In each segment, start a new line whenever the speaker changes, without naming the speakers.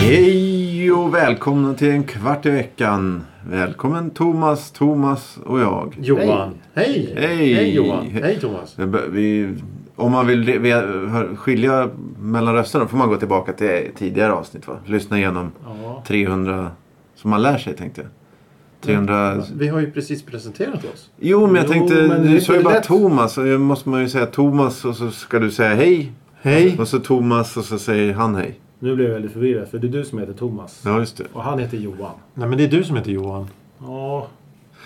Hej och välkomna till en kvart i veckan. Välkommen Thomas, Thomas och jag.
Johan. Hej!
Hej.
Johan. Hej Thomas.
Jag bör- Vi, om man vill re- vi- hör- skilja mellan rösterna får man gå tillbaka till tidigare avsnitt va? Lyssna igenom
Ja.
300 som man lär sig tänkte jag. 300...
Alltså, Vi har ju precis presenterat oss.
Jo men jag
Jo,
tänkte,
men det är
du sa ju
inte
bara
lätt.
Thomas och då måste man ju säga Thomas och så ska du säga hej.
Hej!
Och så Thomas och så säger han hej.
Nu blev jag väldigt förvirrad för det är du som heter Thomas.
Ja just det.
Och han heter Johan.
Nej men det är du som heter Johan.
Ja.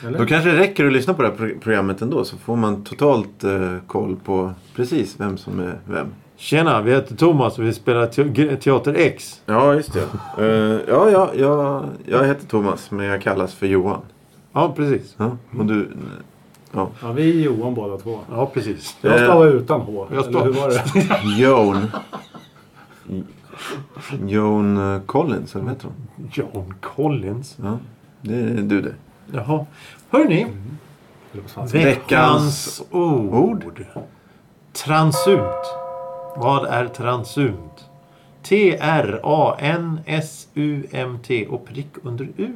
Då
Eller?
kanske det räcker att lyssna på det här pro- programmet ändå så får man totalt eh, koll på precis vem som är vem.
Tjena, vi heter Thomas och vi spelar te- gr- Teater X.
Ja, just det. Eh, ja, ja, ja, jag heter Thomas men jag kallas för Johan.
Ja, precis.
Ja, och du...
Ja, vi är Johan båda två.
Ja, precis.
Jag
Eh,
stavar utan H.
jag
Eller hur var det?
Joan. Joan eh, Collins, eller vad heter hon?
John Collins.
Ja, det är du det.
Jaha. Hörrni. Veckans
Veckans
ord.
ord.
Transunt. Vad är transunt? T-R-A-N-S-U-M-T och prick under u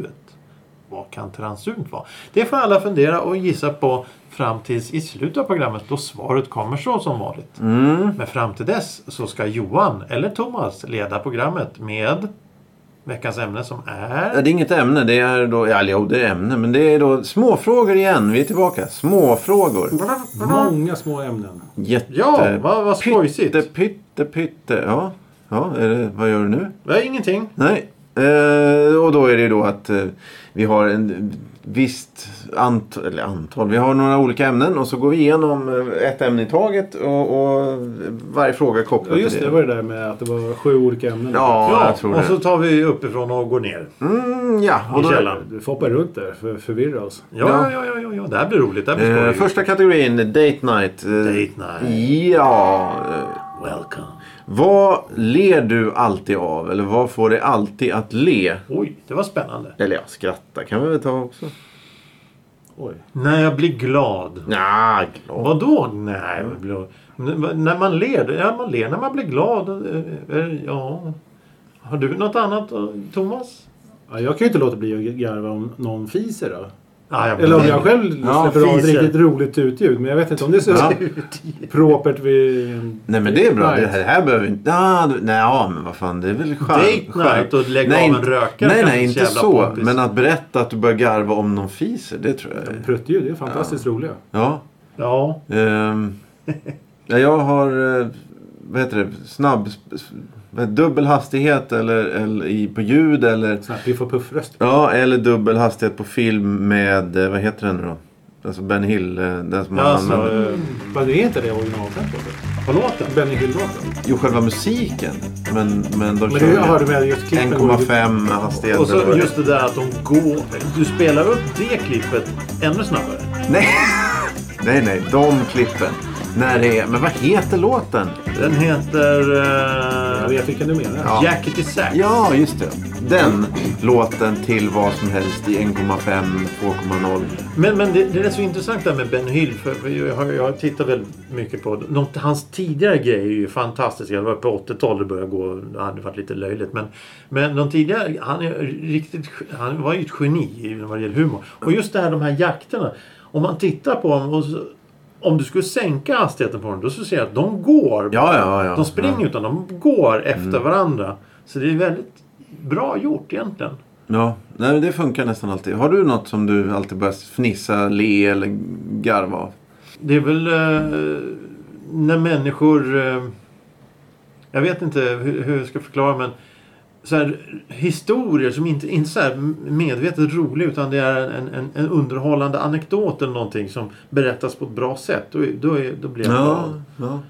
Vad kan transunt vara? Det får alla fundera och gissa på fram tills i slutet av programmet då svaret kommer så som vanligt.
Mm.
Men fram till dess så ska Johan eller Thomas leda programmet med veckans ämne som
Ja,
är...
Det är inget ämne, det är då... Ja, jo, det är ämne, men det är då småfrågor igen. Vi är tillbaka. Småfrågor.
Många små ämnen.
Jätte...
Ja, vad, vad skojsigt.
Pytte, pytte, pytte. Ja, ja är det, vad gör du nu?
Det är ingenting.
Nej. Eh, och då är det ju då att eh, vi har en visst antal, eller antal, vi har några olika ämnen och så går vi igenom eh, ett ämne i taget och, och varje fråga är
Ja,
kopplad
just
till
det. Det var det där med att det var sju olika ämnen.
Ja,
Ja,
jag tror
och
det.
så tar vi uppifrån och går ner.
Mm, ja, och
I
då,
källaren.
Du får hoppa runt där för att förvirra oss.
Ja, ja, ja, ja, ja, ja. det här blir roligt. Det här blir
eh,
skoj.
första kategorin, date night. Eh,
Date
Ja. eh,
Welcome.
Vad ler du alltid av? Eller vad får dig alltid att le?
Oj, det var spännande.
Eller ja, skratta kan vi väl ta också?
Oj.
När jag blir glad.
Nja, glad.
Vadå? Nej, jag blir... N- när man ler. Ja, man ler när man blir glad. Eh, eh, Ja. Har du något annat, eh, Thomas?
Ja, jag kan ju inte låta bli att garva om någon fiser då.
Nej, jag
Eller om jag själv
Ja,
släpper av ett
fiser.
riktigt roligt utljud. Men jag vet inte om det är så
Ja.
propert vid... en-
Nej men det är bra. Det
Date night.
här, det här behöver vi inte... Ah, du- nej, ja men vad fan det är väl skönt.
Date night och lägga av en rökare
Nej
kanske
nej inte
inte så jävla
så.
poppis.
Men att berätta att du börjar garva om någon fiser. Det tror jag. är-
Pruttljud det är fantastiskt roliga.
Ja.
Ja.
ehm, ja jag har... eh, Vad heter det? Snabb... vad- Dubbel hastighet eller, eller i, på ljud eller...
Sån här Piff och Puff-röst.
Ja eller dubbel hastighet på film med... eh, Vad heter den nu då? Alltså Ben Hill. eh, Den som man
Alltså,
använder.
eh,
Men det är inte det originaltempot?
på låten.
Benny Hill-låten?
Jo själva musiken. Men, men de
Men
kör
det
ju
har du med just klippen. går ju-
1,5 hastighet.
Och
eller
så
vad det är.
just det där att de går... Du spelar upp det klippet ännu snabbare.
Nej. nej, nej. De klippen. När det är... Men vad heter låten?
Den heter... eh,
Jag vet vilken du menar.
Ja.
Jacket i sax.
Ja, just det. Den låten till vad som helst i 1,5, 2,0.
Men, men det, det är så intressant där med Ben Hill. För för jag, har, jag tittar väldigt mycket på... De, hans tidigare grejer är ju fantastiska. Det var på 80-talet det började gå. Det hade varit lite löjligt. Men, men de tidigare... Han, är riktigt, han var ju ett geni i- vad det gäller humor. Och just det här de här jakterna. Om man tittar på dem och så, Om du skulle sänka hastigheten på dem då skulle du se att de går.
Ja, ja, ja. Mm.
De springer utan de går efter varandra. Så det är väldigt bra gjort egentligen.
Ja, nej, men det funkar nästan alltid. Har du något som du alltid börjar fnissa, le eller garva av?
Det är väl eh, när människor... Eh, jag vet inte hur, hur jag ska förklara men så här, historier som inte, inte så här medvetet roliga utan det är en, en, en underhållande anekdot eller någonting som berättas på ett bra sätt. Då, är- då, är, då blir jag glad.
ja.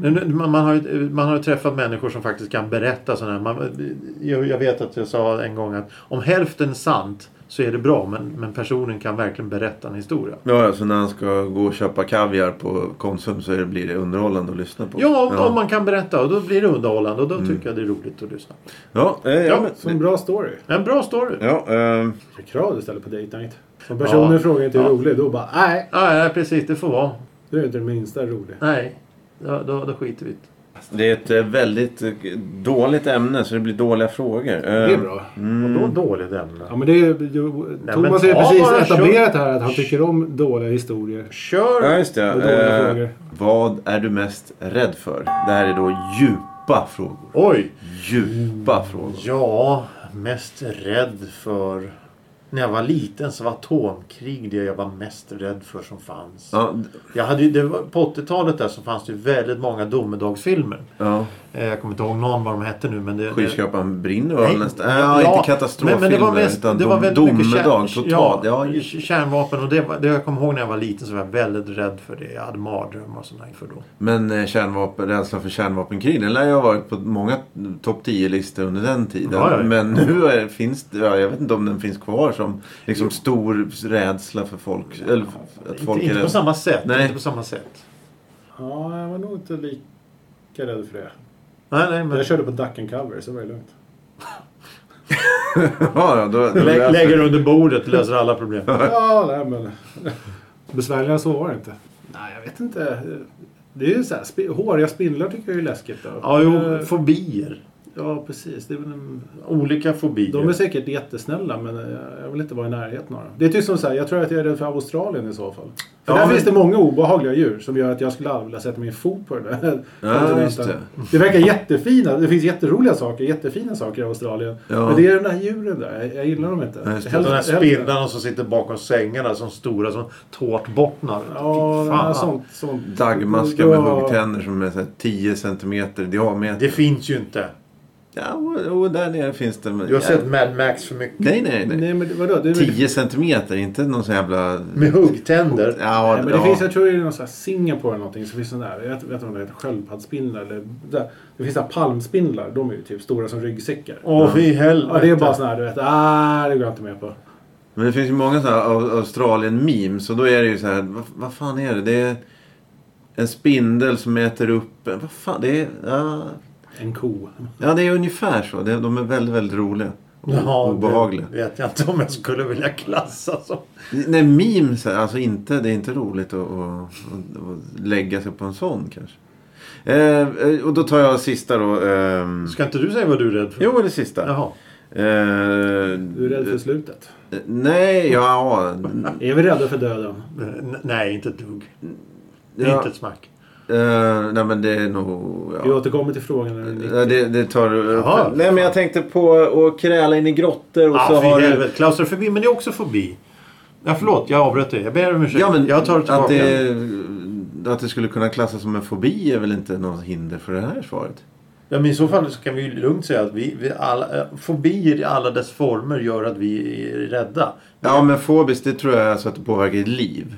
Nu- nu- Man, man, har, ju- man har ju träffat människor som faktiskt kan berätta sådana här. Man, jag, jag vet att jag sa en gång att om hälften är sant så är det bra. Men, men personen kan verkligen berätta en historia.
Ja, alltså när han ska gå och köpa kaviar på Konsum så är det- blir det underhållande att lyssna på.
Ja, om,
ja. Mm.
om man kan berätta. Och då blir det underhållande och då tycker jag det är roligt att lyssna.
Ja, eh, ja,
Ja,
men-
Som en bra story.
En bra story.
ja, eh,
Kör krav istället på date night. Om personen
Ja.
frågar inte hur
Ja.
rolig, då bara nej.
Ja, ja, precis. Det får vara.
Du är inte det minsta rolig.
Nej, då, då, då skiter vi i det.
det är ett eh, väldigt eh, dåligt ämne så det blir dåliga frågor. Eh,
Det är bra.
Vadå
Mm.
dåligt ämne?
Ja, men det är, jo,
Nej,
Thomas
men
har
ta
ju precis
bara, Eh,
etablerat här att han tycker om dåliga historier.
Kör!
Ja, just det. Eh,
Och dåliga frågor.
vad är du mest rädd för? Det här är då djupa frågor.
Oj!
Djupa
Mm.
frågor.
Ja, mest rädd för... När jag var liten så var atomkrig det jag var mest rädd för som fanns.
Ja, d-
Jag hade ju, det var, på 80-talet där så fanns det ju väldigt många domedagsfilmer.
ja.
Eh, Jag kommer inte ihåg någon vad de hette nu men det... det
Skyskrapan brinner väl
Nej.
nästan? Ja, äh,
Ja,
inte katastroffilmer
men- men det var mest-
utan
det var
dom-
väldigt mycket kär-
domedag totalt. Ja,
k-
just.
Kärnvapen och det, var, det jag kommer ihåg när jag var liten så var jag väldigt rädd för det. Jag hade mardrömmar och sånt där inför då.
Men eh, kärnvapen, rädslan för kärnvapenkrig den lär ju ha varit på många topp 10-listor under den tiden.
Ja, ja, ja.
Men nu är, finns det, ja, jag vet inte om den finns kvar som liksom stor rädsla för folk. Eller f- att folk
Inte, inte
är
på samma sätt.
Nej.
Inte på samma sätt.
Ja, jag var nog inte lika rädd för det.
Nej, nej,
Men
men...
jag körde på duck and cover, så var det lugnt.
Ja, ja, då, alltså då
Lä,
löser-
lägger under bordet och löser alla problem.
Ja, nej men... Besvärligare än så var det inte. Nej, jag vet inte. Det är ju så här, spi- håriga spindlar tycker jag är läskigt. Då.
Ja, jo,
Eh,
fobier.
ja, precis. Det är väl en...
Olika fobier.
De är säkert jättesnälla, men eh, jag vill inte vara i närheten av dem. Det är typ som så här, jag tror att jag är rädd för Australien i så fall. För
Ja,
där
men-
finns det många obehagliga djur som gör att jag skulle aldrig vilja sätta min fot på det där.
Ja, just det.
det verkar jättefina. Det finns jätteroliga saker, jättefina saker i Australien.
Ja.
Men det är de där djuren där. Jag, jag gillar dem inte.
Ja, just det.
De
Helst-
där
helst-
spindlarna som sitter bakom sängarna som stora som tårtbottnar.
Ja,
Fy
den här
fan.
sånt. sånt.
Dagmaskar med
Ja,
huggtänder som är så här 10 centimeter i diameter.
Det finns ju inte.
Ja, och, och där nere finns det. men-
Du har
ja.
sett Mad Max för mycket.
Nej, nej, nej.
Nej, men vadå? Det, är-
10 centimeter, inte någon sån jävla...
Med huggtänder.
Ja,
Nej, men
ja.
det finns, jag tror det är någon sån här Singapore eller någonting. Så finns sån där, jag vet vet inte om det heter sköldpaddsspindlar eller... Där. Det finns sån här palmspindlar. De är ju typ stora som ryggsäckar.
Åh, fy helvete.
Ja, det är bara sån här du vet. Ah, det går jag inte med på.
Men det finns ju många sådana Australien-memes och då är det ju så här, vad, vad fan är det? Det är en spindel som äter upp... en- Vad fan, det är... Ja,
En ko.
ja det är ungefär så. Det, de är väldigt, väldigt roliga. Och obehagliga.
Det vet jag inte om jag skulle vilja klassa som.
Nej, memes, är- alltså inte, det är inte roligt att, att, att, att lägga sig på en sån kanske. Eh, eh, och då tar jag sista då. ehm.
Ska inte du säga vad du är rädd för?
Jo, det sista.
Jaha.
Eh,
Du är rädd för slutet.
eh, Nej, ja...
Är vi rädda för döden?
Eh, N- nej, inte ett dugg.
ja
Inte ett smack.
eh, nej, men det är nog...
Vi
Ja.
återkommer till frågan när den är
Ja, det, det tar du upp.
Jaha.
Nej, men jag tänkte på att kräla in i grottor och
Ja,
så
Ah, fy
har du...
helvete. Klaustrofobi, men det är också fobi. Ja, förlåt, jag avbröt dig. Jag ber om ursäkt.
Ja, men
jag tar tillbaka.
att, det, att det skulle kunna klassas som en fobi är väl inte något hinder för det här svaret?
Ja, men I så fall så kan vi ju lugnt säga att vi, vi alla, eh, fobier i alla dess former gör att vi är rädda.
Ja, men fobiskt det tror jag är så att det påverkar ditt liv.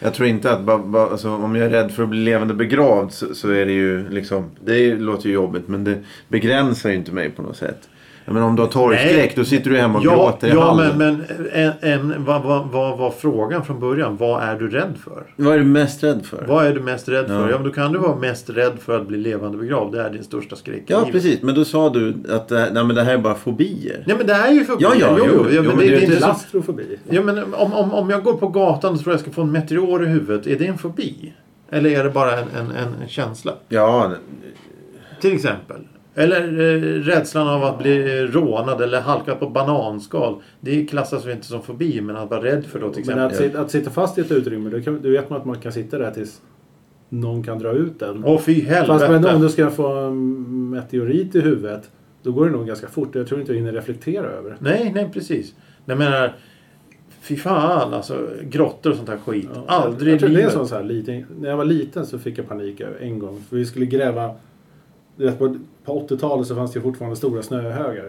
Jag tror inte att bara, bara, alltså, om jag är rädd för att bli levande begravd så, så är det ju liksom... Det är, låter ju jobbigt men det begränsar ju inte mig på något sätt. Jag menar om du har torgskräck
Nej.
då sitter du hemma och
Ja,
gråter i
ja
hallen.
men, men en, en, vad, vad, vad var frågan från början? Vad är du rädd för?
Vad är du mest rädd för?
Vad är du mest rädd för?
Ja.
Ja, men då kan du vara mest rädd för att bli levande begravd. Det är din största skräck. i
Ja,
livet.
precis. Men då sa du att det här, nej, men det här är bara fobier.
Nej, men det här är ju fobier.
Ja, ja, jo, jo, men
men
det är
det, är
ju
inte
inte
så...
Astrofobi.
Ja, men om, om, om jag går på gatan och tror jag ska få en meteor i huvudet, är det en fobi? Eller är det bara en, en, en känsla?
Ja,
Till exempel. Eller eh, rädslan av att bli rånad eller halka på bananskal. Det klassas väl inte som fobi, men att vara rädd för då till
Men
exempel.
att, sit- att sitta fast i ett utrymme, då, kan, då vet man att man kan sitta där tills någon kan dra ut den.
Åh fy
Fast men om
helvete.
du ska få en meteorit i huvudet, då går det nog ganska fort. Jag tror inte du hinner reflektera över det.
Nej, nej precis. Jag menar, fy fan alltså. Grottor och sånt här skit. Aldrig
jag
i
tror det är
livet.
en sån så här liten, När jag var liten så fick jag panik en gång. För vi skulle gräva... Du vet, på på 80-talet så fanns det ju fortfarande stora snöhögar.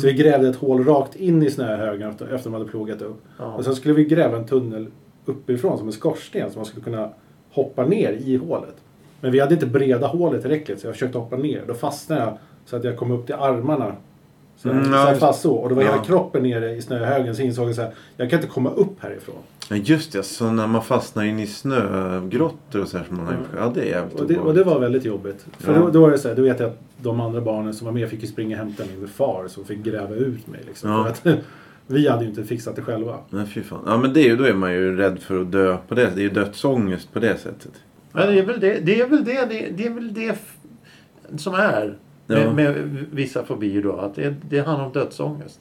Så vi grävde ett hål rakt in i snöhögen efter, efter man hade plogat upp.
Ja.
Och sen skulle vi gräva en tunnel uppifrån som en skorsten så man skulle kunna hoppa ner i hålet. Men vi hade inte breda hålet tillräckligt så jag försökte hoppa ner. Då fastnade jag så att jag kom upp till armarna. Så jag
Mm, ja,
satt
just-
fast så. Och då var hela
Ja.
kroppen nere i snöhögen. Så insåg jag så här, jag kan inte komma upp härifrån.
Ja, just det. Så när man fastnar in i snögrottor och så här som man har gjort. Ja, det är jävligt
Mm. Och det, och det var väldigt jobbigt. För
Ja.
då, då var det så här, då vet jag att de andra barnen som var med fick ju springa och hämta min far som fick gräva ut mig. Liksom.
Ja.
För att, vi hade ju inte fixat det själva.
Nej, fy fan. Ja, men det är ju, då är man ju rädd för att dö på det Det är ju dödsångest på det sättet.
Ja, det är väl det, det, är väl det, det, det, är väl det f- som är med,
Ja.
med vissa fobier då. Att det, det handlar om dödsångest.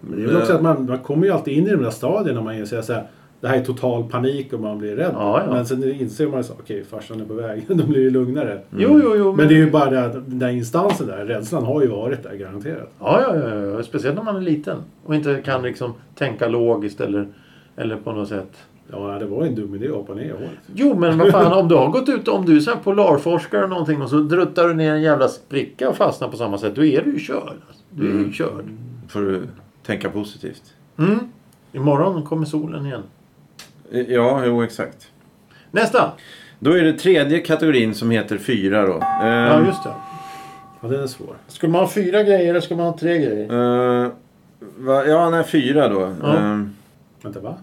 Men det är väl också att man, man kommer ju alltid in i de där stadierna när man inser så här, det här är total panik och man blir rädd.
Ja, ja.
Men sen inser man ju så, okej farsan är på väg, då blir det lugnare.
Jo, jo, Mm. jo.
Mm. Men det är ju bara det att den där instansen där, rädslan har ju varit där garanterat.
Ja, ja, ja, ja, speciellt när man är liten och inte kan liksom tänka logiskt eller, eller på något sätt.
Ja, det var ju en dum idé att hoppa ner i hålet.
Jo, men vad fan, om du har gått ut, om du är så här polarforskare eller någonting och så druttar du ner en jävla spricka och fastnar på samma sätt, då är du ju körd. alltså. Du är
Mm.
ju körd.
Får du tänka positivt.
Mm. Imorgon kommer solen igen.
Ja, jo exakt.
Nästa!
Då är det tredje kategorin som heter fyra då.
Ja,
Mm.
Ehm,
just det.
Ja, den är svår.
Ska man ha fyra grejer eller ska man ha tre
Mm.
grejer?
eh, va, ja, nej, fyra då.
Ja.
Ehm,
Vänta, va?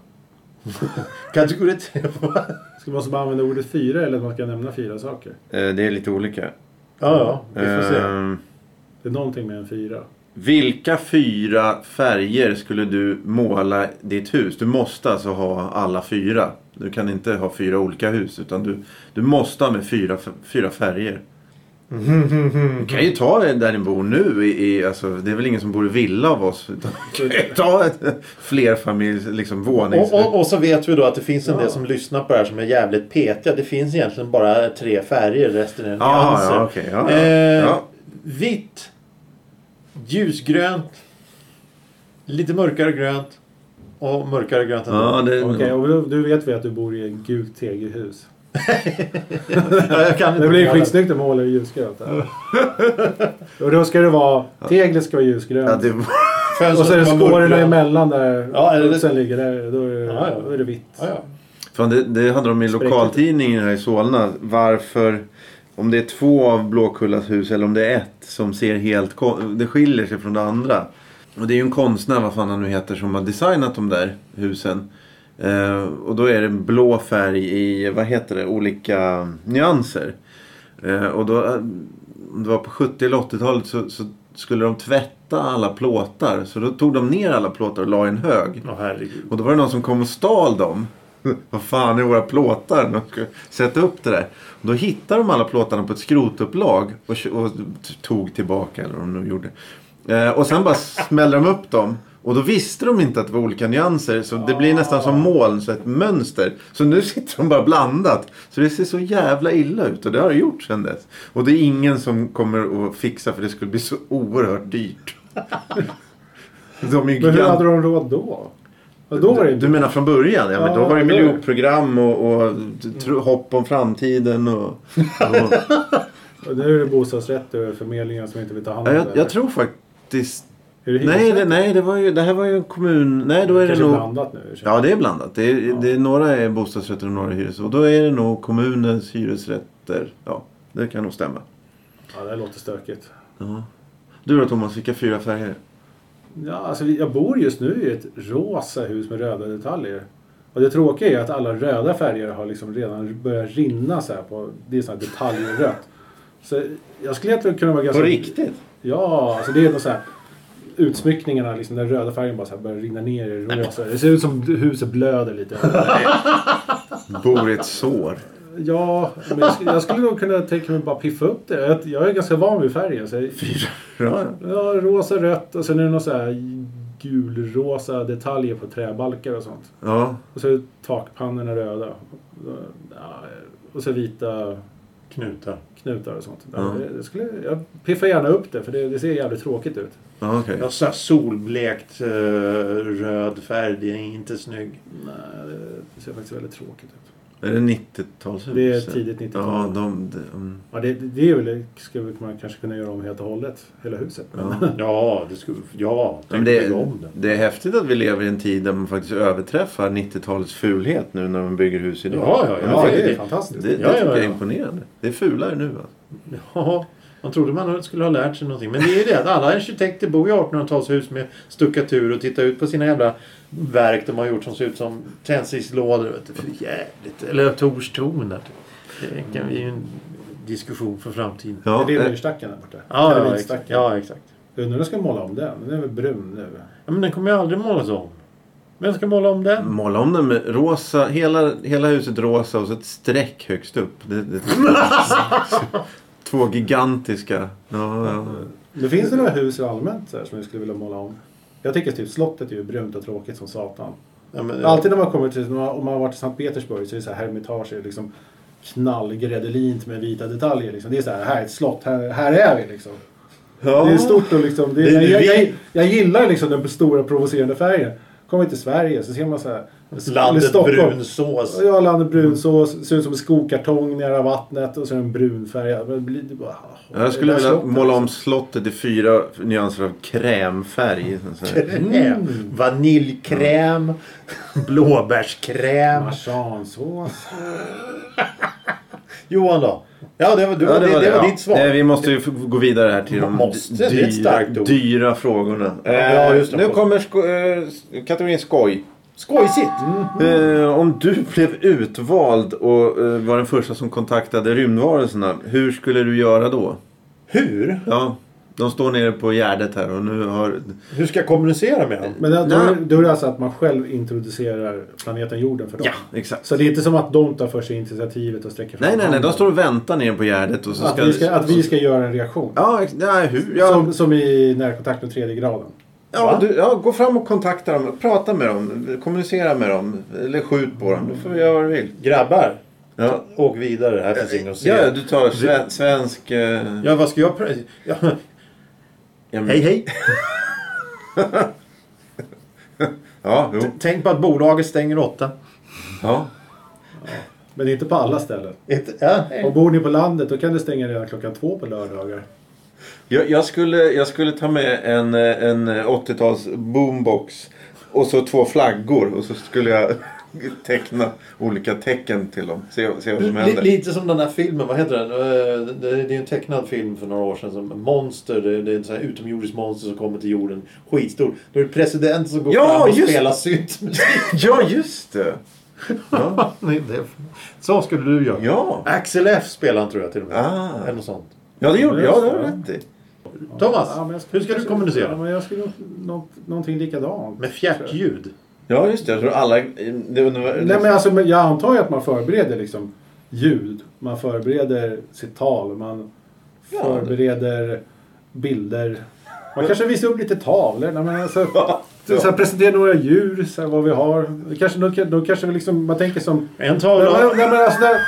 Kategori tre. va?
Ska man så bara använda ordet fyra eller att man ska nämna fyra saker?
eh, det är lite olika.
ja, ja.
Vi får se.
Ehm,
Det är någonting med en fyra.
vilka fyra färger skulle du måla ditt hus? Du måste alltså ha alla fyra. Du kan inte ha fyra olika hus utan du, du måste ha med fyra, f- fyra färger. Du kan ju ta det där ni bor nu. I, i, alltså, det är väl ingen som bor i villa av oss. Utan, du kan ju ta ett flerfamiljs liksom, vånings...
Och, och, och så vet vi då att det finns en
Ja.
del som lyssnar på det här som är jävligt petiga. Det finns egentligen bara tre färger, resten är
Ah,
nyanser.
ja, okej. ja, ja.
Eh,
ja.
Vitt, ljusgrönt, lite mörkare grönt och mörkare grönt ändå.
Ja, det...
Okej, och då, då vet vi att du bor i ett gult tegelhus.
Ja, jag kan inte
Det blir ju
måla.
skitsnyggt att måla i ljusgrönt.
Mm.
där. och då ska det vara, teglet ska vara ljusgrönt.
Ja, det...
Fönstret
Och så är det
ska vara
skåren
mörkgrönt.
emellan där.
Ja, eller-
Och sen ligger där. Då är det,
Ja, ja.
Då är det vitt.
Ja, ja.
Fan, det, det hade de i
Spräckligt.
lokaltidningen här i Solna. Varför, om det är två av Blåkullas hus eller om det är ett som ser helt... kon- Det skiljer sig från det andra. Och det är ju en konstnär, vad fan han nu heter, som har designat de där husen. Eh, och då är det blå färg i, vad heter det, olika nyanser. Eh, och då, eh, om det var på 70 eller 80-talet så, så skulle de tvätta alla plåtar. Så då tog de ner alla plåtar och la i en hög.
Åh, herregud.
Och då var det någon som kom och stal dem. Vad fan är våra plåtar? De ska sätta upp det där. Och då hittade de alla plåtarna på ett skrotupplag och, kö- och t- tog tillbaka eller vad de nu gjorde. Eh, och sen bara smällde de upp dem. Och då visste de inte att det var olika nyanser så det blir nästan som moln, så ett mönster. Så nu sitter de bara blandat. Så det ser så jävla illa ut och det har det gjort sedan dess. Och det är ingen som kommer att fixa för det skulle bli så oerhört dyrt. De är
Men hur
gigant-
hade de råd då? Ja, då var det
du
inte...
menar från början? Ja, men då
Ja, Mm.
var det
då-
miljonprogram och, och tro, hopp om framtiden och... och
Och Nu är det bostadsrätter och förmedlingar som inte vill ta hand
ja,
om
jag,
det.
jag tror faktiskt...
Är det
Nej, det,
hyresrätter?
nej det, var ju, det här var ju en kommun... Nej, då är det
Kanske
nog...
blandat nu. i och för sig.
Ja, det är blandat. Det är, det är, några är bostadsrätter och några är hyresrätter. Och då är det nog kommunens hyresrätter. Ja, det kan nog stämma.
ja, det här låter stökigt.
Ja. Du då Thomas, vilka fyra färger?
Ja, alltså, vi- jag bor just nu i ett rosa hus med röda detaljer. Och det tråkiga är att alla röda färger har liksom redan börjat rinna så här på... Det är sådana detaljrött. Så jag skulle egentligen kunna vara ganska...
På riktigt?
Ja, alltså det är något så här utsmyckningarna, liksom den röda färgen bara så här börjar rinna ner i rosa. Det ser ut som huset blöder lite.
Bor i ett sår.
Ja, men jag skulle, jag skulle nog kunna tänka mig bara piffa upp det. Jag, jag är ganska van vid färgen. Så jag,
Ja,
ja, rosa, rött och sen är det någon så här gulrosa detaljer på träbalkar och sånt.
ja.
Och så är takpannorna röda. Ja, Och så vita
Knutar.
knutar och sånt. Ja,
Mm.
det- det skulle, jag piffar gärna upp det för det, det ser jävligt tråkigt ut.
ja okej.
Ja, så här solblekt eh, röd färg, det är inte snygg.
Nej, det ser faktiskt väldigt tråkigt ut.
Är det 90-talshus?
Det är tidigt 90-tal.
Ja, de... de mm.
Ja, det, det är väl, skulle man kanske kunna göra om helt och hållet. Hela huset. Men,
ja.
Ja, det skulle... Ja,
Men
tänk
det,
det,
är,
om det.
det är häftigt att vi lever i en tid där man faktiskt överträffar 90-talets fulhet nu när man bygger hus idag.
Ja, ja, ja.
ja, det är
det-
Det,
fantastiskt.
det
Ja, ja,
tycker jag är
ja.
imponerande. Det är fulare nu. Alltså.
Ja, man trodde man skulle ha lärt sig någonting. Men det är ju det att alla arkitekter bor i 1800-talshus med stuckatur och tittar ut på sina jävla verk de har gjort som ser ut som tändstickslådor. vet du. För jävligt. Eller Tors torn där. Det kan vi ju en diskussion för framtiden.
Ja,
det är
eh,
myrstacken där borta.
Ja, ja,
Karolinstacken.
exakt. ja exakt.
Undrar om de ska måla om den. Den är väl brun nu.
Ja, men den kommer ju aldrig målas om. Vem ska måla om den?
eh, måla om den med rosa. Hela, hela huset rosa och så ett streck högst upp. Det, det, två gigantiska. Ja, ja.
Det finns det några hus allmänt så här, som vi skulle vilja måla om. Jag tycker typ slottet är ju brunt och tråkigt som satan.
Ja, men,
Alltid när man kommer till, om man om man har varit i Sankt Petersburg så är det så här hermitage är liksom knallgräddilint med vita detaljer. Liksom. Det är så här, här är ett slott, här, här är vi liksom.
Ja.
Det är stort och liksom, det,
Det är
jag, jag,
vi-
jag gillar liksom den stora provocerande färgen. Kommer till Sverige så ser man så här. eller
landet
Stockholm.
brunsås.
Ja, landet brunsås, ser ut som en skokartong nära vattnet och så är den brunfärgad. Men det blir det bara,
Jag skulle
det där
vilja
slottet,
måla om
liksom.
slottet i fyra nyanser av krämfärg. Så här.
Mm. Vaniljkräm.
Mm.
Blåbärskräm.
alltså. Marsansås.
Johan då? Ja, det var, du,
Ja,
det, det, var
ja.
ditt svar.
Nej, vi måste ju f- gå vidare här till de
Måste, det är ett
dyra,
starkt ord.
dyra frågorna.
ja,
Eh,
just det.
nu kommer sko- eh, s- kategorin skoj.
Skojsigt! Mm.
Eh, om du blev utvald och eh, var den första som kontaktade rymdvarelserna, hur skulle du göra då?
Hur?
Ja, de står nere på Gärdet här och nu har...
Hur ska jag kommunicera med dem?
Men då, då,
Nej.
är- då är det alltså att man själv introducerar planeten jorden för dem?
Ja, exakt.
Så det är inte som att de tar för sig initiativet och sträcker fram
Nej, nej, nej. De
handen.
står och väntar nere på Gärdet och så
att,
ska...
vi ska, att vi ska göra en reaktion.
Ja, ex- nej, hur? Ja,
Som, som i närkontakt med tredje graden.
Ja,
Va?
du, ja, gå fram och kontakta dem. Prata med dem. Kommunicera med dem. Eller skjut på dem. Du får göra vad du vill.
Grabbar,
Ja,
åk vidare. Här finns inget att se.
ja du tar sve, svensk... Eh,
Ja, vad ska jag... Pr- ja.
ja, men-
Hej, hej!
Ja, jo.
Mm. Tänk på att bolaget stänger åtta.
Ja.
Men inte på alla ställen.
Ett, ja,
Och
hej.
bor ni på landet då kan det stänga redan klockan två på lördagar.
Jag, jag, skulle, jag skulle ta med en, eh, en 80-tals boombox. Och så två flaggor. Och så skulle jag teckna olika tecken till dem. Se, se vad som
Li-
händer.
lite som den där filmen, vad heter den? Eh, Det det är en tecknad film för några år sedan. Som monster, det det är en sån här utomjordisk monster som kommer till jorden. Skitstor. Då är det presidenten som går
Ja,
fram och
just-
spelar syntmusik.
Ja, just det. Ja.
Nej, det- Så skulle du göra.
Ja,
Axel F spelar han tror jag till och med.
Ah.
Eller något sånt.
ja det gjorde jag. Det har du rätt i.
Thomas,
Ja, men jag
hur ska du
kanske-
kommunicera?
Ja, men jag skulle nå- någonting likadant.
Med fjärtljud.
Ja, just det. Jag tror alla... Det, undrar-
Nej, men alltså, men jag antar ju att man förbereder liksom ljud. Man förbereder sitt tal. Man
Ja,
förbereder bilder. Man kanske visar upp lite tavlor. Nej, men alltså, så,
ja.
så här, presentera några djur, så här, vad vi har. Kanske, då, då kanske vi liksom, man tänker som...
En
Nej,
tavla.
men, nej, men alltså, när,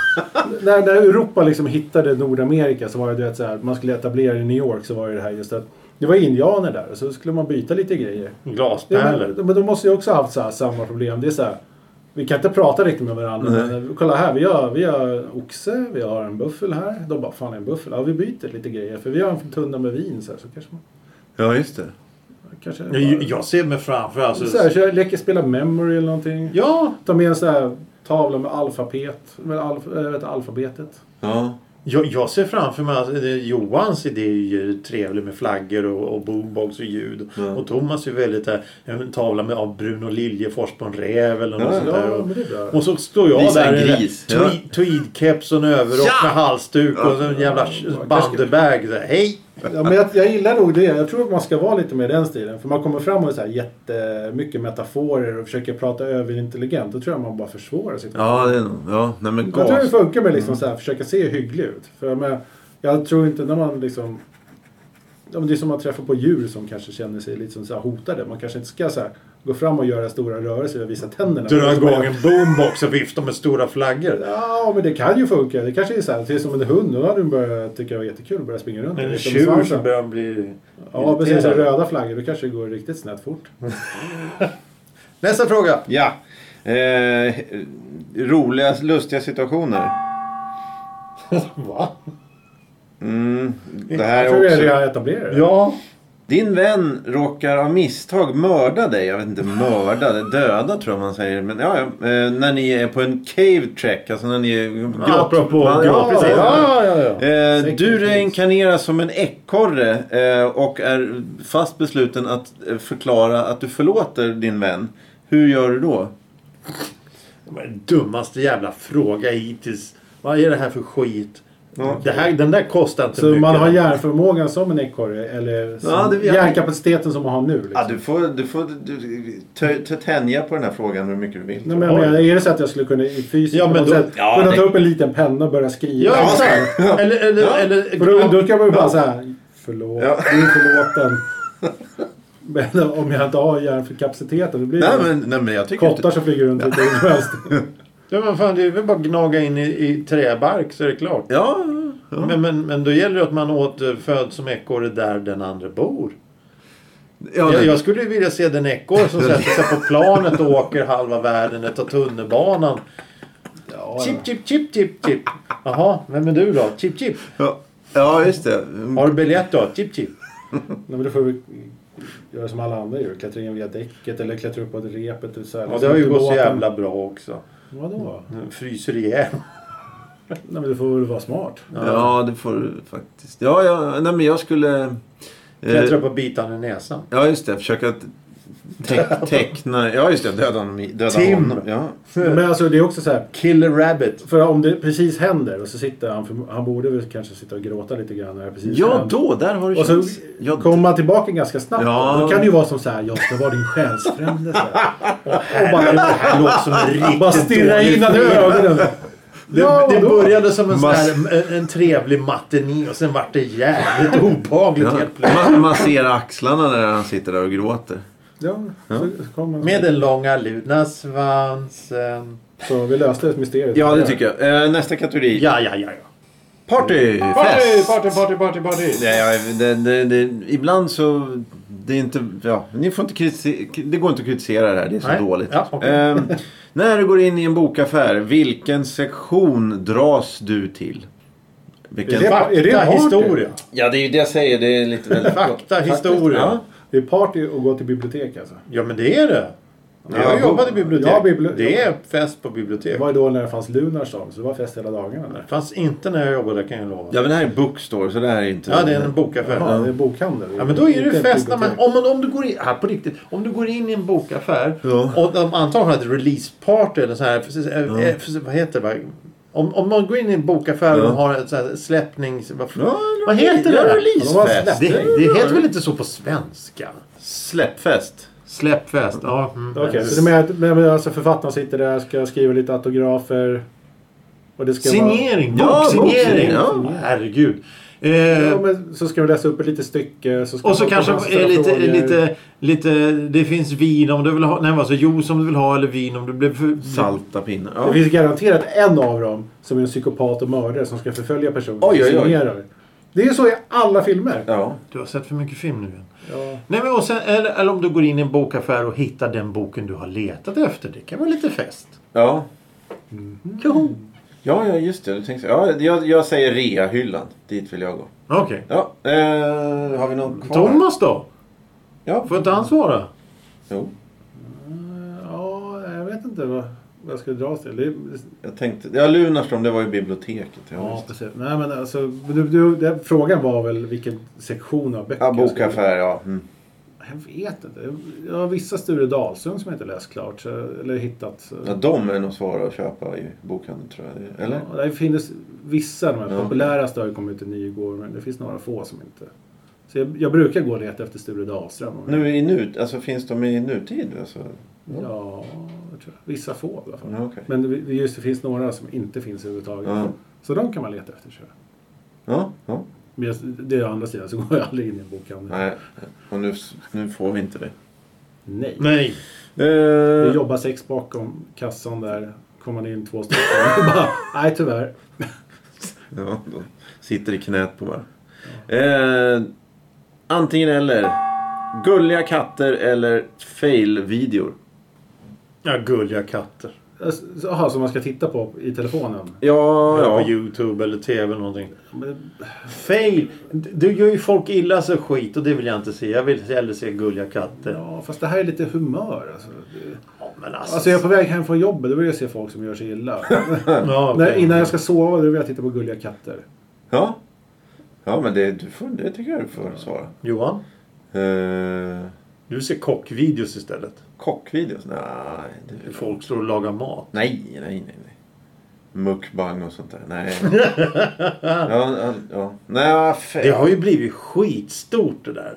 när, när Europa liksom hittade Nordamerika så var det du vet, så här, man skulle etablera i New York så var det det här just att det var indianer där och så skulle man byta lite grejer. Ja, men,
Glaspärlor.
men de måste ju också ha haft så här, samma problem. Det är så här, vi kan inte prata riktigt med varandra. Men, kolla här, vi har, vi har oxe, vi har en buffel här. De bara, fan en buffel? Ja, vi byter lite grejer. För vi har en tunna med vin så här, så kanske man...
Ja, just det.
Kanske
Jag, jag ser mig framför alltså.
så här, kör, leker spela memory eller någonting.
Ja,
Ta med en så här tavla med alfabet. Med alf, äh, vet, du, alfabetet.
Ja.
jag, jag ser framför mig alltså, det- Johans idé är ju trevlig med flaggor och, och boombox och ljud.
Ja.
Och Thomas är ju väldigt där, en tavla med, av Bruno Liljefors på en räv eller något
Ja,
sånt där.
Ja,
Och,
men det är bra.
och så står jag
Visa
där
en
i den
gris.
där tweed- tweedkeps och en överrock
Ja!
med halsduk och så en jävla bandebag. där. Hej!
Ja, men jag, jag gillar nog det. Jag tror att man ska vara lite mer i den stilen. För man kommer fram och så här jättemycket metaforer och försöker prata överintelligent. Då tror jag man bara försvårar sitt
Ja, det är nog... Ja, nej men
Jag tror det
gas.
funkar med
Mm.
liksom så här, försöka se hygglig ut. För jag, menar, jag tror inte när man liksom... Ja, men det är som att träffa på djur som kanske känner sig lite som så här hotade. Man kanske inte ska så här, gå fram och göra stora rörelser och visa tänderna.
Dra
Men som man-
igång en boombox och vifta med stora flaggor.
Ja, men det kan ju funka. Det kanske är så här, det är som en hund. Då hade den börjat tycka det var jättekul att börja springa runt.
En
Lite med
tjur
svansen.
som börjar bli
Ja, precis.
irriterad.
Röda flaggor. Då kanske det går riktigt snett fort.
Nästa fråga.
Ja. Eh, Roliga, lustiga situationer.
Va?
Mm, det
Jag
här
tror
är
vi
också.
redan etablerat det.
Ja.
Din vän råkar av misstag mörda dig. Jag vet inte, mörda, det- döda tror jag man säger. Men ja, ja. Eh, när ni är på en cave trek. Alltså när ni är grott.
Apropå
Man-
grott,
ja, precis.
Ja, ja, ja.
Eh,
Säkert
du
finns.
reinkarneras som en ekorre eh, och är fast besluten att eh, förklara att du förlåter din vän. Hur gör du då?
Det var den dummaste jävla fråga hittills. Vad är det här för skit?
Ja.
Det här, den där kostar inte
Så
mycket.
man har hjärnförmågan som en ekorre eller som
Ja, det vet jag.
hjärnkapaciteten som man har nu. Liksom.
Ja, du får, du får du, tö- tö- tänja på den här frågan hur mycket du vill.
Nej, men jag menar, är det så att jag skulle kunna i fysiskt
Ja,
på
men
något
då-
sätt,
ja,
kunna
det-
ta upp en liten penna och börja skriva?
Ja, alltså,
Ja,
exakt. Eller, eller,
Ja.
eller...
För då, då kan man ju bara såhär, förlåt,
Ja.
du är förlåten. Men om jag inte har hjärnkapaciteten, då blir
Nej,
det
men, nej, men jag tycker
kottar som flyger runt lite hur som helst.
Ja, men fan, det är väl bara att gnaga in i, i träbark så är det klart.
Ja, ja.
Men, men, men då gäller det att man återföds som ekorre där den andra bor.
ja,
Jag,
men-
jag skulle ju vilja se den ekorre som sätter sig på planet och åker halva världen och tar tunnelbanan. Chip, chip, chip, chip, chip. Jaha, vem är du då? Chip, chip.
ja. ja, just det. Mm.
Har du biljett då? Chip, chip.
Nej, men då får vi göra som alla andra gör. Klättra in via däcket eller klättra upp på repet. Och så här,
Ja, det har ju
Liksom,
gått så
förlåten.
jävla bra också.
Vadå?
Den Fryser ihjäl.
Nej, men du får väl vara smart.
Ja, det får du faktiskt. Ja, ja, nej, men jag skulle...
Klättrar
Eh,
på bitarna i näsan.
ja, just det. Försöka te- teckna... Ja, just det. Döda honom. i- Döda
Tim.
honom. Ja.
Men alltså det är också så här.
Killer rabbit.
För om det precis händer och så sitter han, för han borde väl kanske sitta och gråta lite grann när det precis
ja,
händer.
då. Där har du
Och så
chans. Ja,
kommer man tillbaka ganska snabbt.
Ja.
Då kan det ju vara som så här, jag ska vara din själsfrände. så här.
Och bara, det här låter som en riktigt
Bara stirra
dålig
in den i
film.
ögonen.
Det,
Ja,
det
vadå?
började som en, sån
Mass-
här, en, en trevlig matiné och sen vart det jävligt obehagligt
ja.
helt plötsligt.
Ma- massera axlarna när han sitter där och gråter.
Ja, så, så, kommer man-
Med den långa luna svansen.
så vi löste ett mysterium.
Ja, det tycker jag. Eh, nästa kategori.
Ja, ja, ja. ja.
Party!
Party,
Fest!
party, party, party, party.
Nej, ja, det, det, det, ibland så... Det är inte... Ja, ni får inte kritisera, det går inte att kritisera det här. Det är så
Nej.
dåligt.
Ja, okej.
Ehm, när du går in i en bokaffär, vilken sektion dras du till? Vilken...
Är det-
Fakta,
är det en party?
historia.
Ja, det är ju det jag säger. Det är lite väldigt...
Fakta, historia.
Ja.
Ja.
Det är party och gå till bibliotek alltså.
men det är det. Jag har
Ja,
jobbat i bibliotek.
ja, bibli-
det är fest på bibliotek.
Det var ju då när det fanns Lunarstorm, så det var fest hela dagarna. Där.
Det fanns inte när jag jobbade kan jag lova.
ja, men det här är bookstore så det här är inte...
Ja, det är en bokaffär.
Ja, det är bokhandel.
Ja, men då är
Inte
det
ett
fest när man,
bibliotek.
om, man, om, du går in, här på riktigt, om du går in i en bokaffär
Ja.
och de antagligen hade releaseparty eller så här, för, eh, för, vad heter det? bara? Om, om man går in i en bokaffär
Ja.
och har en så här släppnings... Vad,
Ja,
vad heter det?
ja,
där?
Releasefest.
Det, det heter väl inte så på svenska?
Släppfest.
Släppfest, ja. Mm.
Okej, så du menar att men, men, alltså, författaren sitter där, ska skriva lite autografer. Och det ska
Signering,
Ja,
boksignering.
boksignering, ja.
Herregud. Eh,
Vara, ja, men, så ska du läsa upp ett litet stycke. Så ska
Och så
man-
kanske
man ställa
är lite,
frågor.
lite, lite... Det finns vin om du vill ha... Nej, alltså juice om du vill ha eller vin om du blir för...
Salta pinnar.
Det
Ja.
finns garanterat en av dem som är en psykopat och mördare som ska förfölja personer.
Oj, oj, oj.
som signerar. Det är ju så i alla filmer.
ja.
Du har sett för mycket film nu igen.
Ja.
Nej, men och sen, eller, eller om du går in i en bokaffär och hittar den boken du har letat efter. Det kan vara lite fest.
Ja. Ja, ja, just det. Du tänkte, ja, jag, jag säger reahyllan. Dit vill jag gå.
Okej.
Ja, eh, har vi någon kvar?
Thomas då?
Ja.
Får inte han svara?
Jo,
ja, jag vet inte vad, vad jag ska dra till. Det är,
jag tänkte... Ja, Lunarström, det var ju biblioteket. Ja,
ja,
just det.
precis. Nej, men alltså, du, du, den frågan var väl vilken sektion av böcker?
ja
jag skulle-
bokaffär, ja. Mm.
Jag vet inte. Jag har vissa Sture Dahlström som jag inte läst klart. så- Eller hittat. så-
ja. De är nog svåra att köpa i bokhandeln, tror jag. Eller?
Ja, det finns vissa. De här
Ja.
populäraste har ju kommit ut i Nygård. Men det finns några få som inte. Så jag, jag brukar gå och leta efter Sture Dahlström. om jag-
Nu i nu, alltså finns de i nutid? Alltså?
Ja, jag tror jag. Vissa få i alla fall.
Ja, okej.
Men det- just det finns några som inte finns överhuvudtaget.
Ja.
Så de kan man leta efter. Tror jag.
Ja, ja.
Men jag, det är å andra sidan så går jag aldrig in i en bokhandel.
Nej, och nu, nu får vi inte det.
Nej.
Nej.
Det
Eh,
jobbar sex bakom kassan där. Kommer man in två stycken. och bara, Nej tyvärr.
ja, de sitter i knät på varandra. Eh, antingen eller. Gulliga katter eller fail-videor.
Ja, gulliga katter.
Jaha, Alltså, som man ska titta på i telefonen?
Ja,
Eller
ja.
På YouTube eller TV eller någonting. Fail! Du du gör ju folk illa så skit och det vill jag inte se. Jag vill hellre se gulliga katter.
Ja, fast det här är lite humör alltså.
Ja, men alltså...
Alltså jag är på väg hem från jobbet, då vill jag se folk som gör sig illa.
ja,
När,
okej.
innan jag ska sova, då vill jag titta på gulliga katter.
Ja, ja men det, du får, det tycker jag du får svara.
Johan,
Eh,
du ser kockvideos istället.
kockvideos? Nej, det,
Hur folk står och lagar mat.
nej, nej, nej. nej. Mukbang och sånt där. Nej. ja, ja, ja. Nej, vad fan.
Det har ju blivit skitstort det där.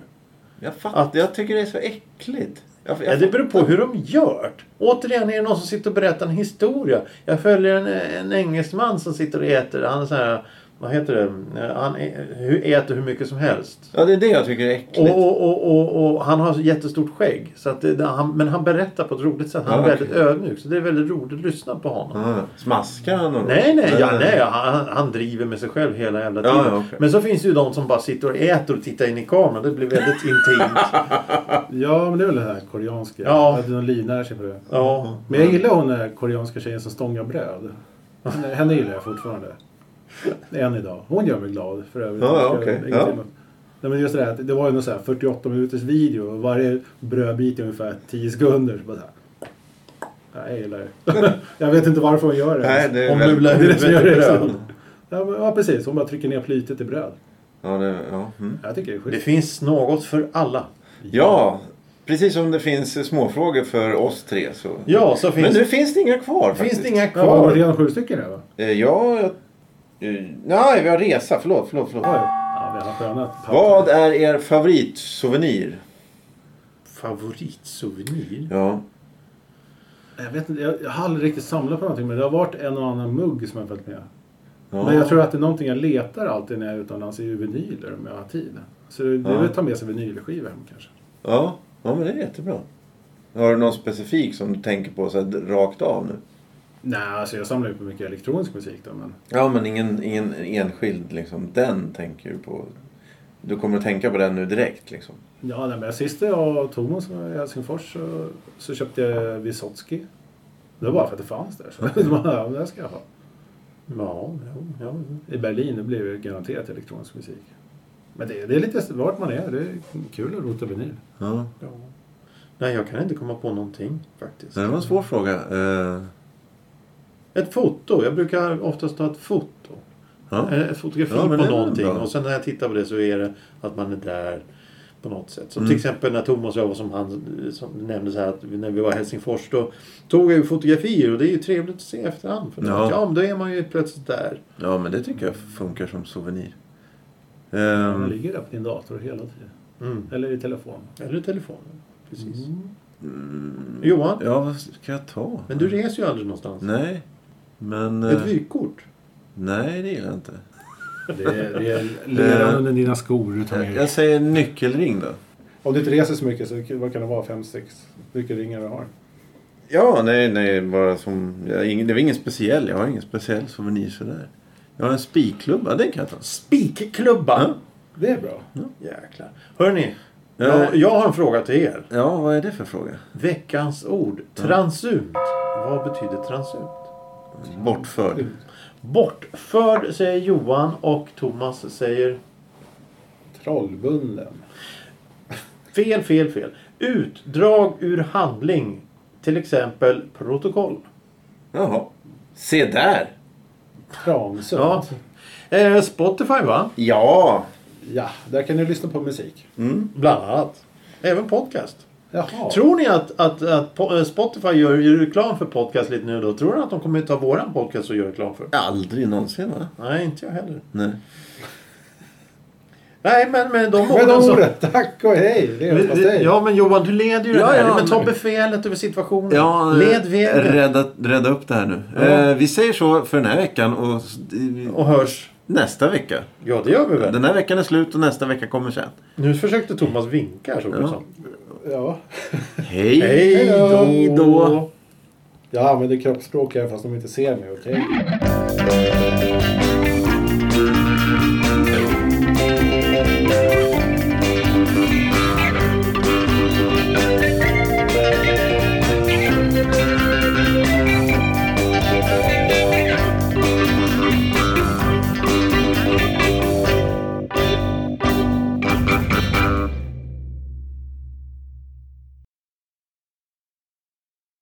Jag fattar. Jag tycker det är så äckligt. Jag, jag,
Ja, det beror på hur de gör Återigen är det någon som sitter och berättar en historia. Jag följer en, en engelsman som sitter och äter. Han är så här, vad heter det? Han ä- hu- äter hur mycket som helst.
ja, det är det jag tycker är äckligt.
Och, och, och, och, och han har så jättestort skägg. Så att det, det- han, men han berättar på ett roligt sätt. Han är
Ja,
väldigt
okej.
ödmjuk. Så det är väldigt roligt att lyssna på honom.
Ah, smaskar han någon?
Nej, nej, ja, nej han, han driver med sig själv hela jävla
Ja,
tiden.
ja, okej.
Men så finns det ju de som bara sitter och äter och tittar in i kameran. Det blir väldigt intimt.
Ja, men det är väl det här koreanska.
Ja.
Att de livnär sig på det.
Ja.
Men jag gillar hon den här koreanska tjejen som stångar bröd. Henne, henne gillar jag fortfarande. Än idag. Hon gör mig glad för övrigt.
Ja, ja,
Jag-
okej.
ingenting
Ja.
emot. Nej, men just det, där, att det var ju någon så här 48 minuters video och varje brödbit är ungefär 10 sekunder. Så bara så här. Ja, Jag gillar det. jag vet inte varför hon gör det.
Nej, det är väldigt...
Omula
Det är det
huvudet
som
i
gör det.
bröd.
liksom. Ja, men, ja, precis. Hon bara trycker ner plytet i bröd.
Ja, det, ja. Mm.
Jag tycker det är
Det
schysst.
finns något för alla.
ja, precis som det finns eh, småfrågor för oss tre så...
Ja, så finns,
Men nu finns det inga kvar
finns
faktiskt.
det inga
Ja, var det
kvar.
redan sju stycken här va?
Eh, Ja, jag... eh, Nej, vi har resa. Förlåt, förlåt, förlåt.
Oj. Ja, vi har skönat.
Vad är er favoritsouvenir?
Favoritsouvenir?
Ja.
Jag vet inte, jag, jag har aldrig riktigt samlat på någonting men det har varit en och annan mugg som jag följt med.
ja.
Men jag tror att det är någonting jag letar alltid när jag är utomlands är ju vinyler om jag har tid. Så det det är
Ja.
väl att ta med sig vinylskivor hem kanske.
Ja. ja, men det är jättebra. Har du någon specifik som du tänker på så här, rakt av nu?
Nej, alltså jag samlar ju på mycket elektronisk musik då men...
Ja, men ingen, ingen enskild liksom. Den tänker du på. Du kommer att tänka på den nu direkt liksom.
Ja, nej, men sist jag och Thomas var i Helsingfors så, så köpte jag Wysotsky. Det var bara för att det fanns där. Så det var, ja, det här ska jag ha.
Ja, jo, ja, jo.
I Berlin det blev det garanterat elektronisk musik. Men det, det är lite vart man är. Det är kul att rota vinyl.
Ja.
ja. Nej, jag kan inte komma på någonting faktiskt.
Det var en svår fråga. Eh,
Ett foto. Jag brukar oftast ta ett foto.
ja.
Eh, Ett fotografi
Ja, men
på
det är väl
någonting.
bra.
Och sen när jag tittar på det så är det att man är där på något sätt. Som
Mm.
till exempel när Thomas och jag var som han eh, som nämnde så här att vi- när vi var i Helsingfors då tog jag ju fotografier och det är ju trevligt att se efterhand. För
Ja.
ja. ja, men då är man ju plötsligt där.
ja, men det tycker jag funkar som souvenir.
Man
Ehm,
ligger där på din dator hela tiden.
Mm.
Eller i telefon. Mm.
Eller i telefonen. Precis.
Mm.
Johan,
ja, vad ska jag ta?
men du reser ju aldrig någonstans.
Nej. Men... eh,
Ett vykort.
Nej, det gillar jag inte.
Det är, det är leran
Eh,
under dina skor du tar med
Jag säger nyckelring då.
Om du inte reser så mycket, så vad kan det vara? Fem, sex? Vilka ringar du har?
Ja, nej, nej, bara som... Jag, ingen- det var ingen speciell. Jag har ingen speciell souvenir sådär. Jag har en spikklubba, den kan jag ta.
Spikklubban!
Ja.
Det är bra.
Jäklar. Hörrni,
Ja.
jag, jag har en fråga till er.
Ja, vad är det för fråga?
Veckans ord. Transumt. Vad betyder transumt?
Bortförd.
Bortförd säger Johan och Thomas säger
Trollbunden.
fel, fel, fel. Utdrag ur handling. Till exempel protokoll.
Jaha. Se där!
Kramsund.
Ja. Eh, Spotify va?
Ja!
ja, där kan du lyssna på musik.
Bland annat. Även podcast.
Jaha.
Tror ni att, att, att po- eh, Spotify gör, gör reklam för podcast lite nu då? Tror ni att de kommer ta våran podcast och göra reklam för?
Aldrig någonsin, va?
Nej, inte jag heller.
Nej.
Nej, men med de
Med
orden
de
så-
orden, tack och hej! Det är hos dig.
Ja, men Johan, du leder ju
Ja,
det här.
ja,
men ta
men-
befälet över situationen.
Ja, eh,
Led vägen.
rädda, rädda upp det här nu.
Ja.
Eh, vi säger så för den här veckan och s- i-
Och hörs.
nästa vecka.
Ja, det gör vi väl.
Den här veckan är slut och nästa vecka kommer sen.
Nu försökte Thomas vinka. Så
Ja.
Ja.
Hej,
Hej då!
Hej då.
Jag använder kroppsspråk även fast de inte ser mig, okej?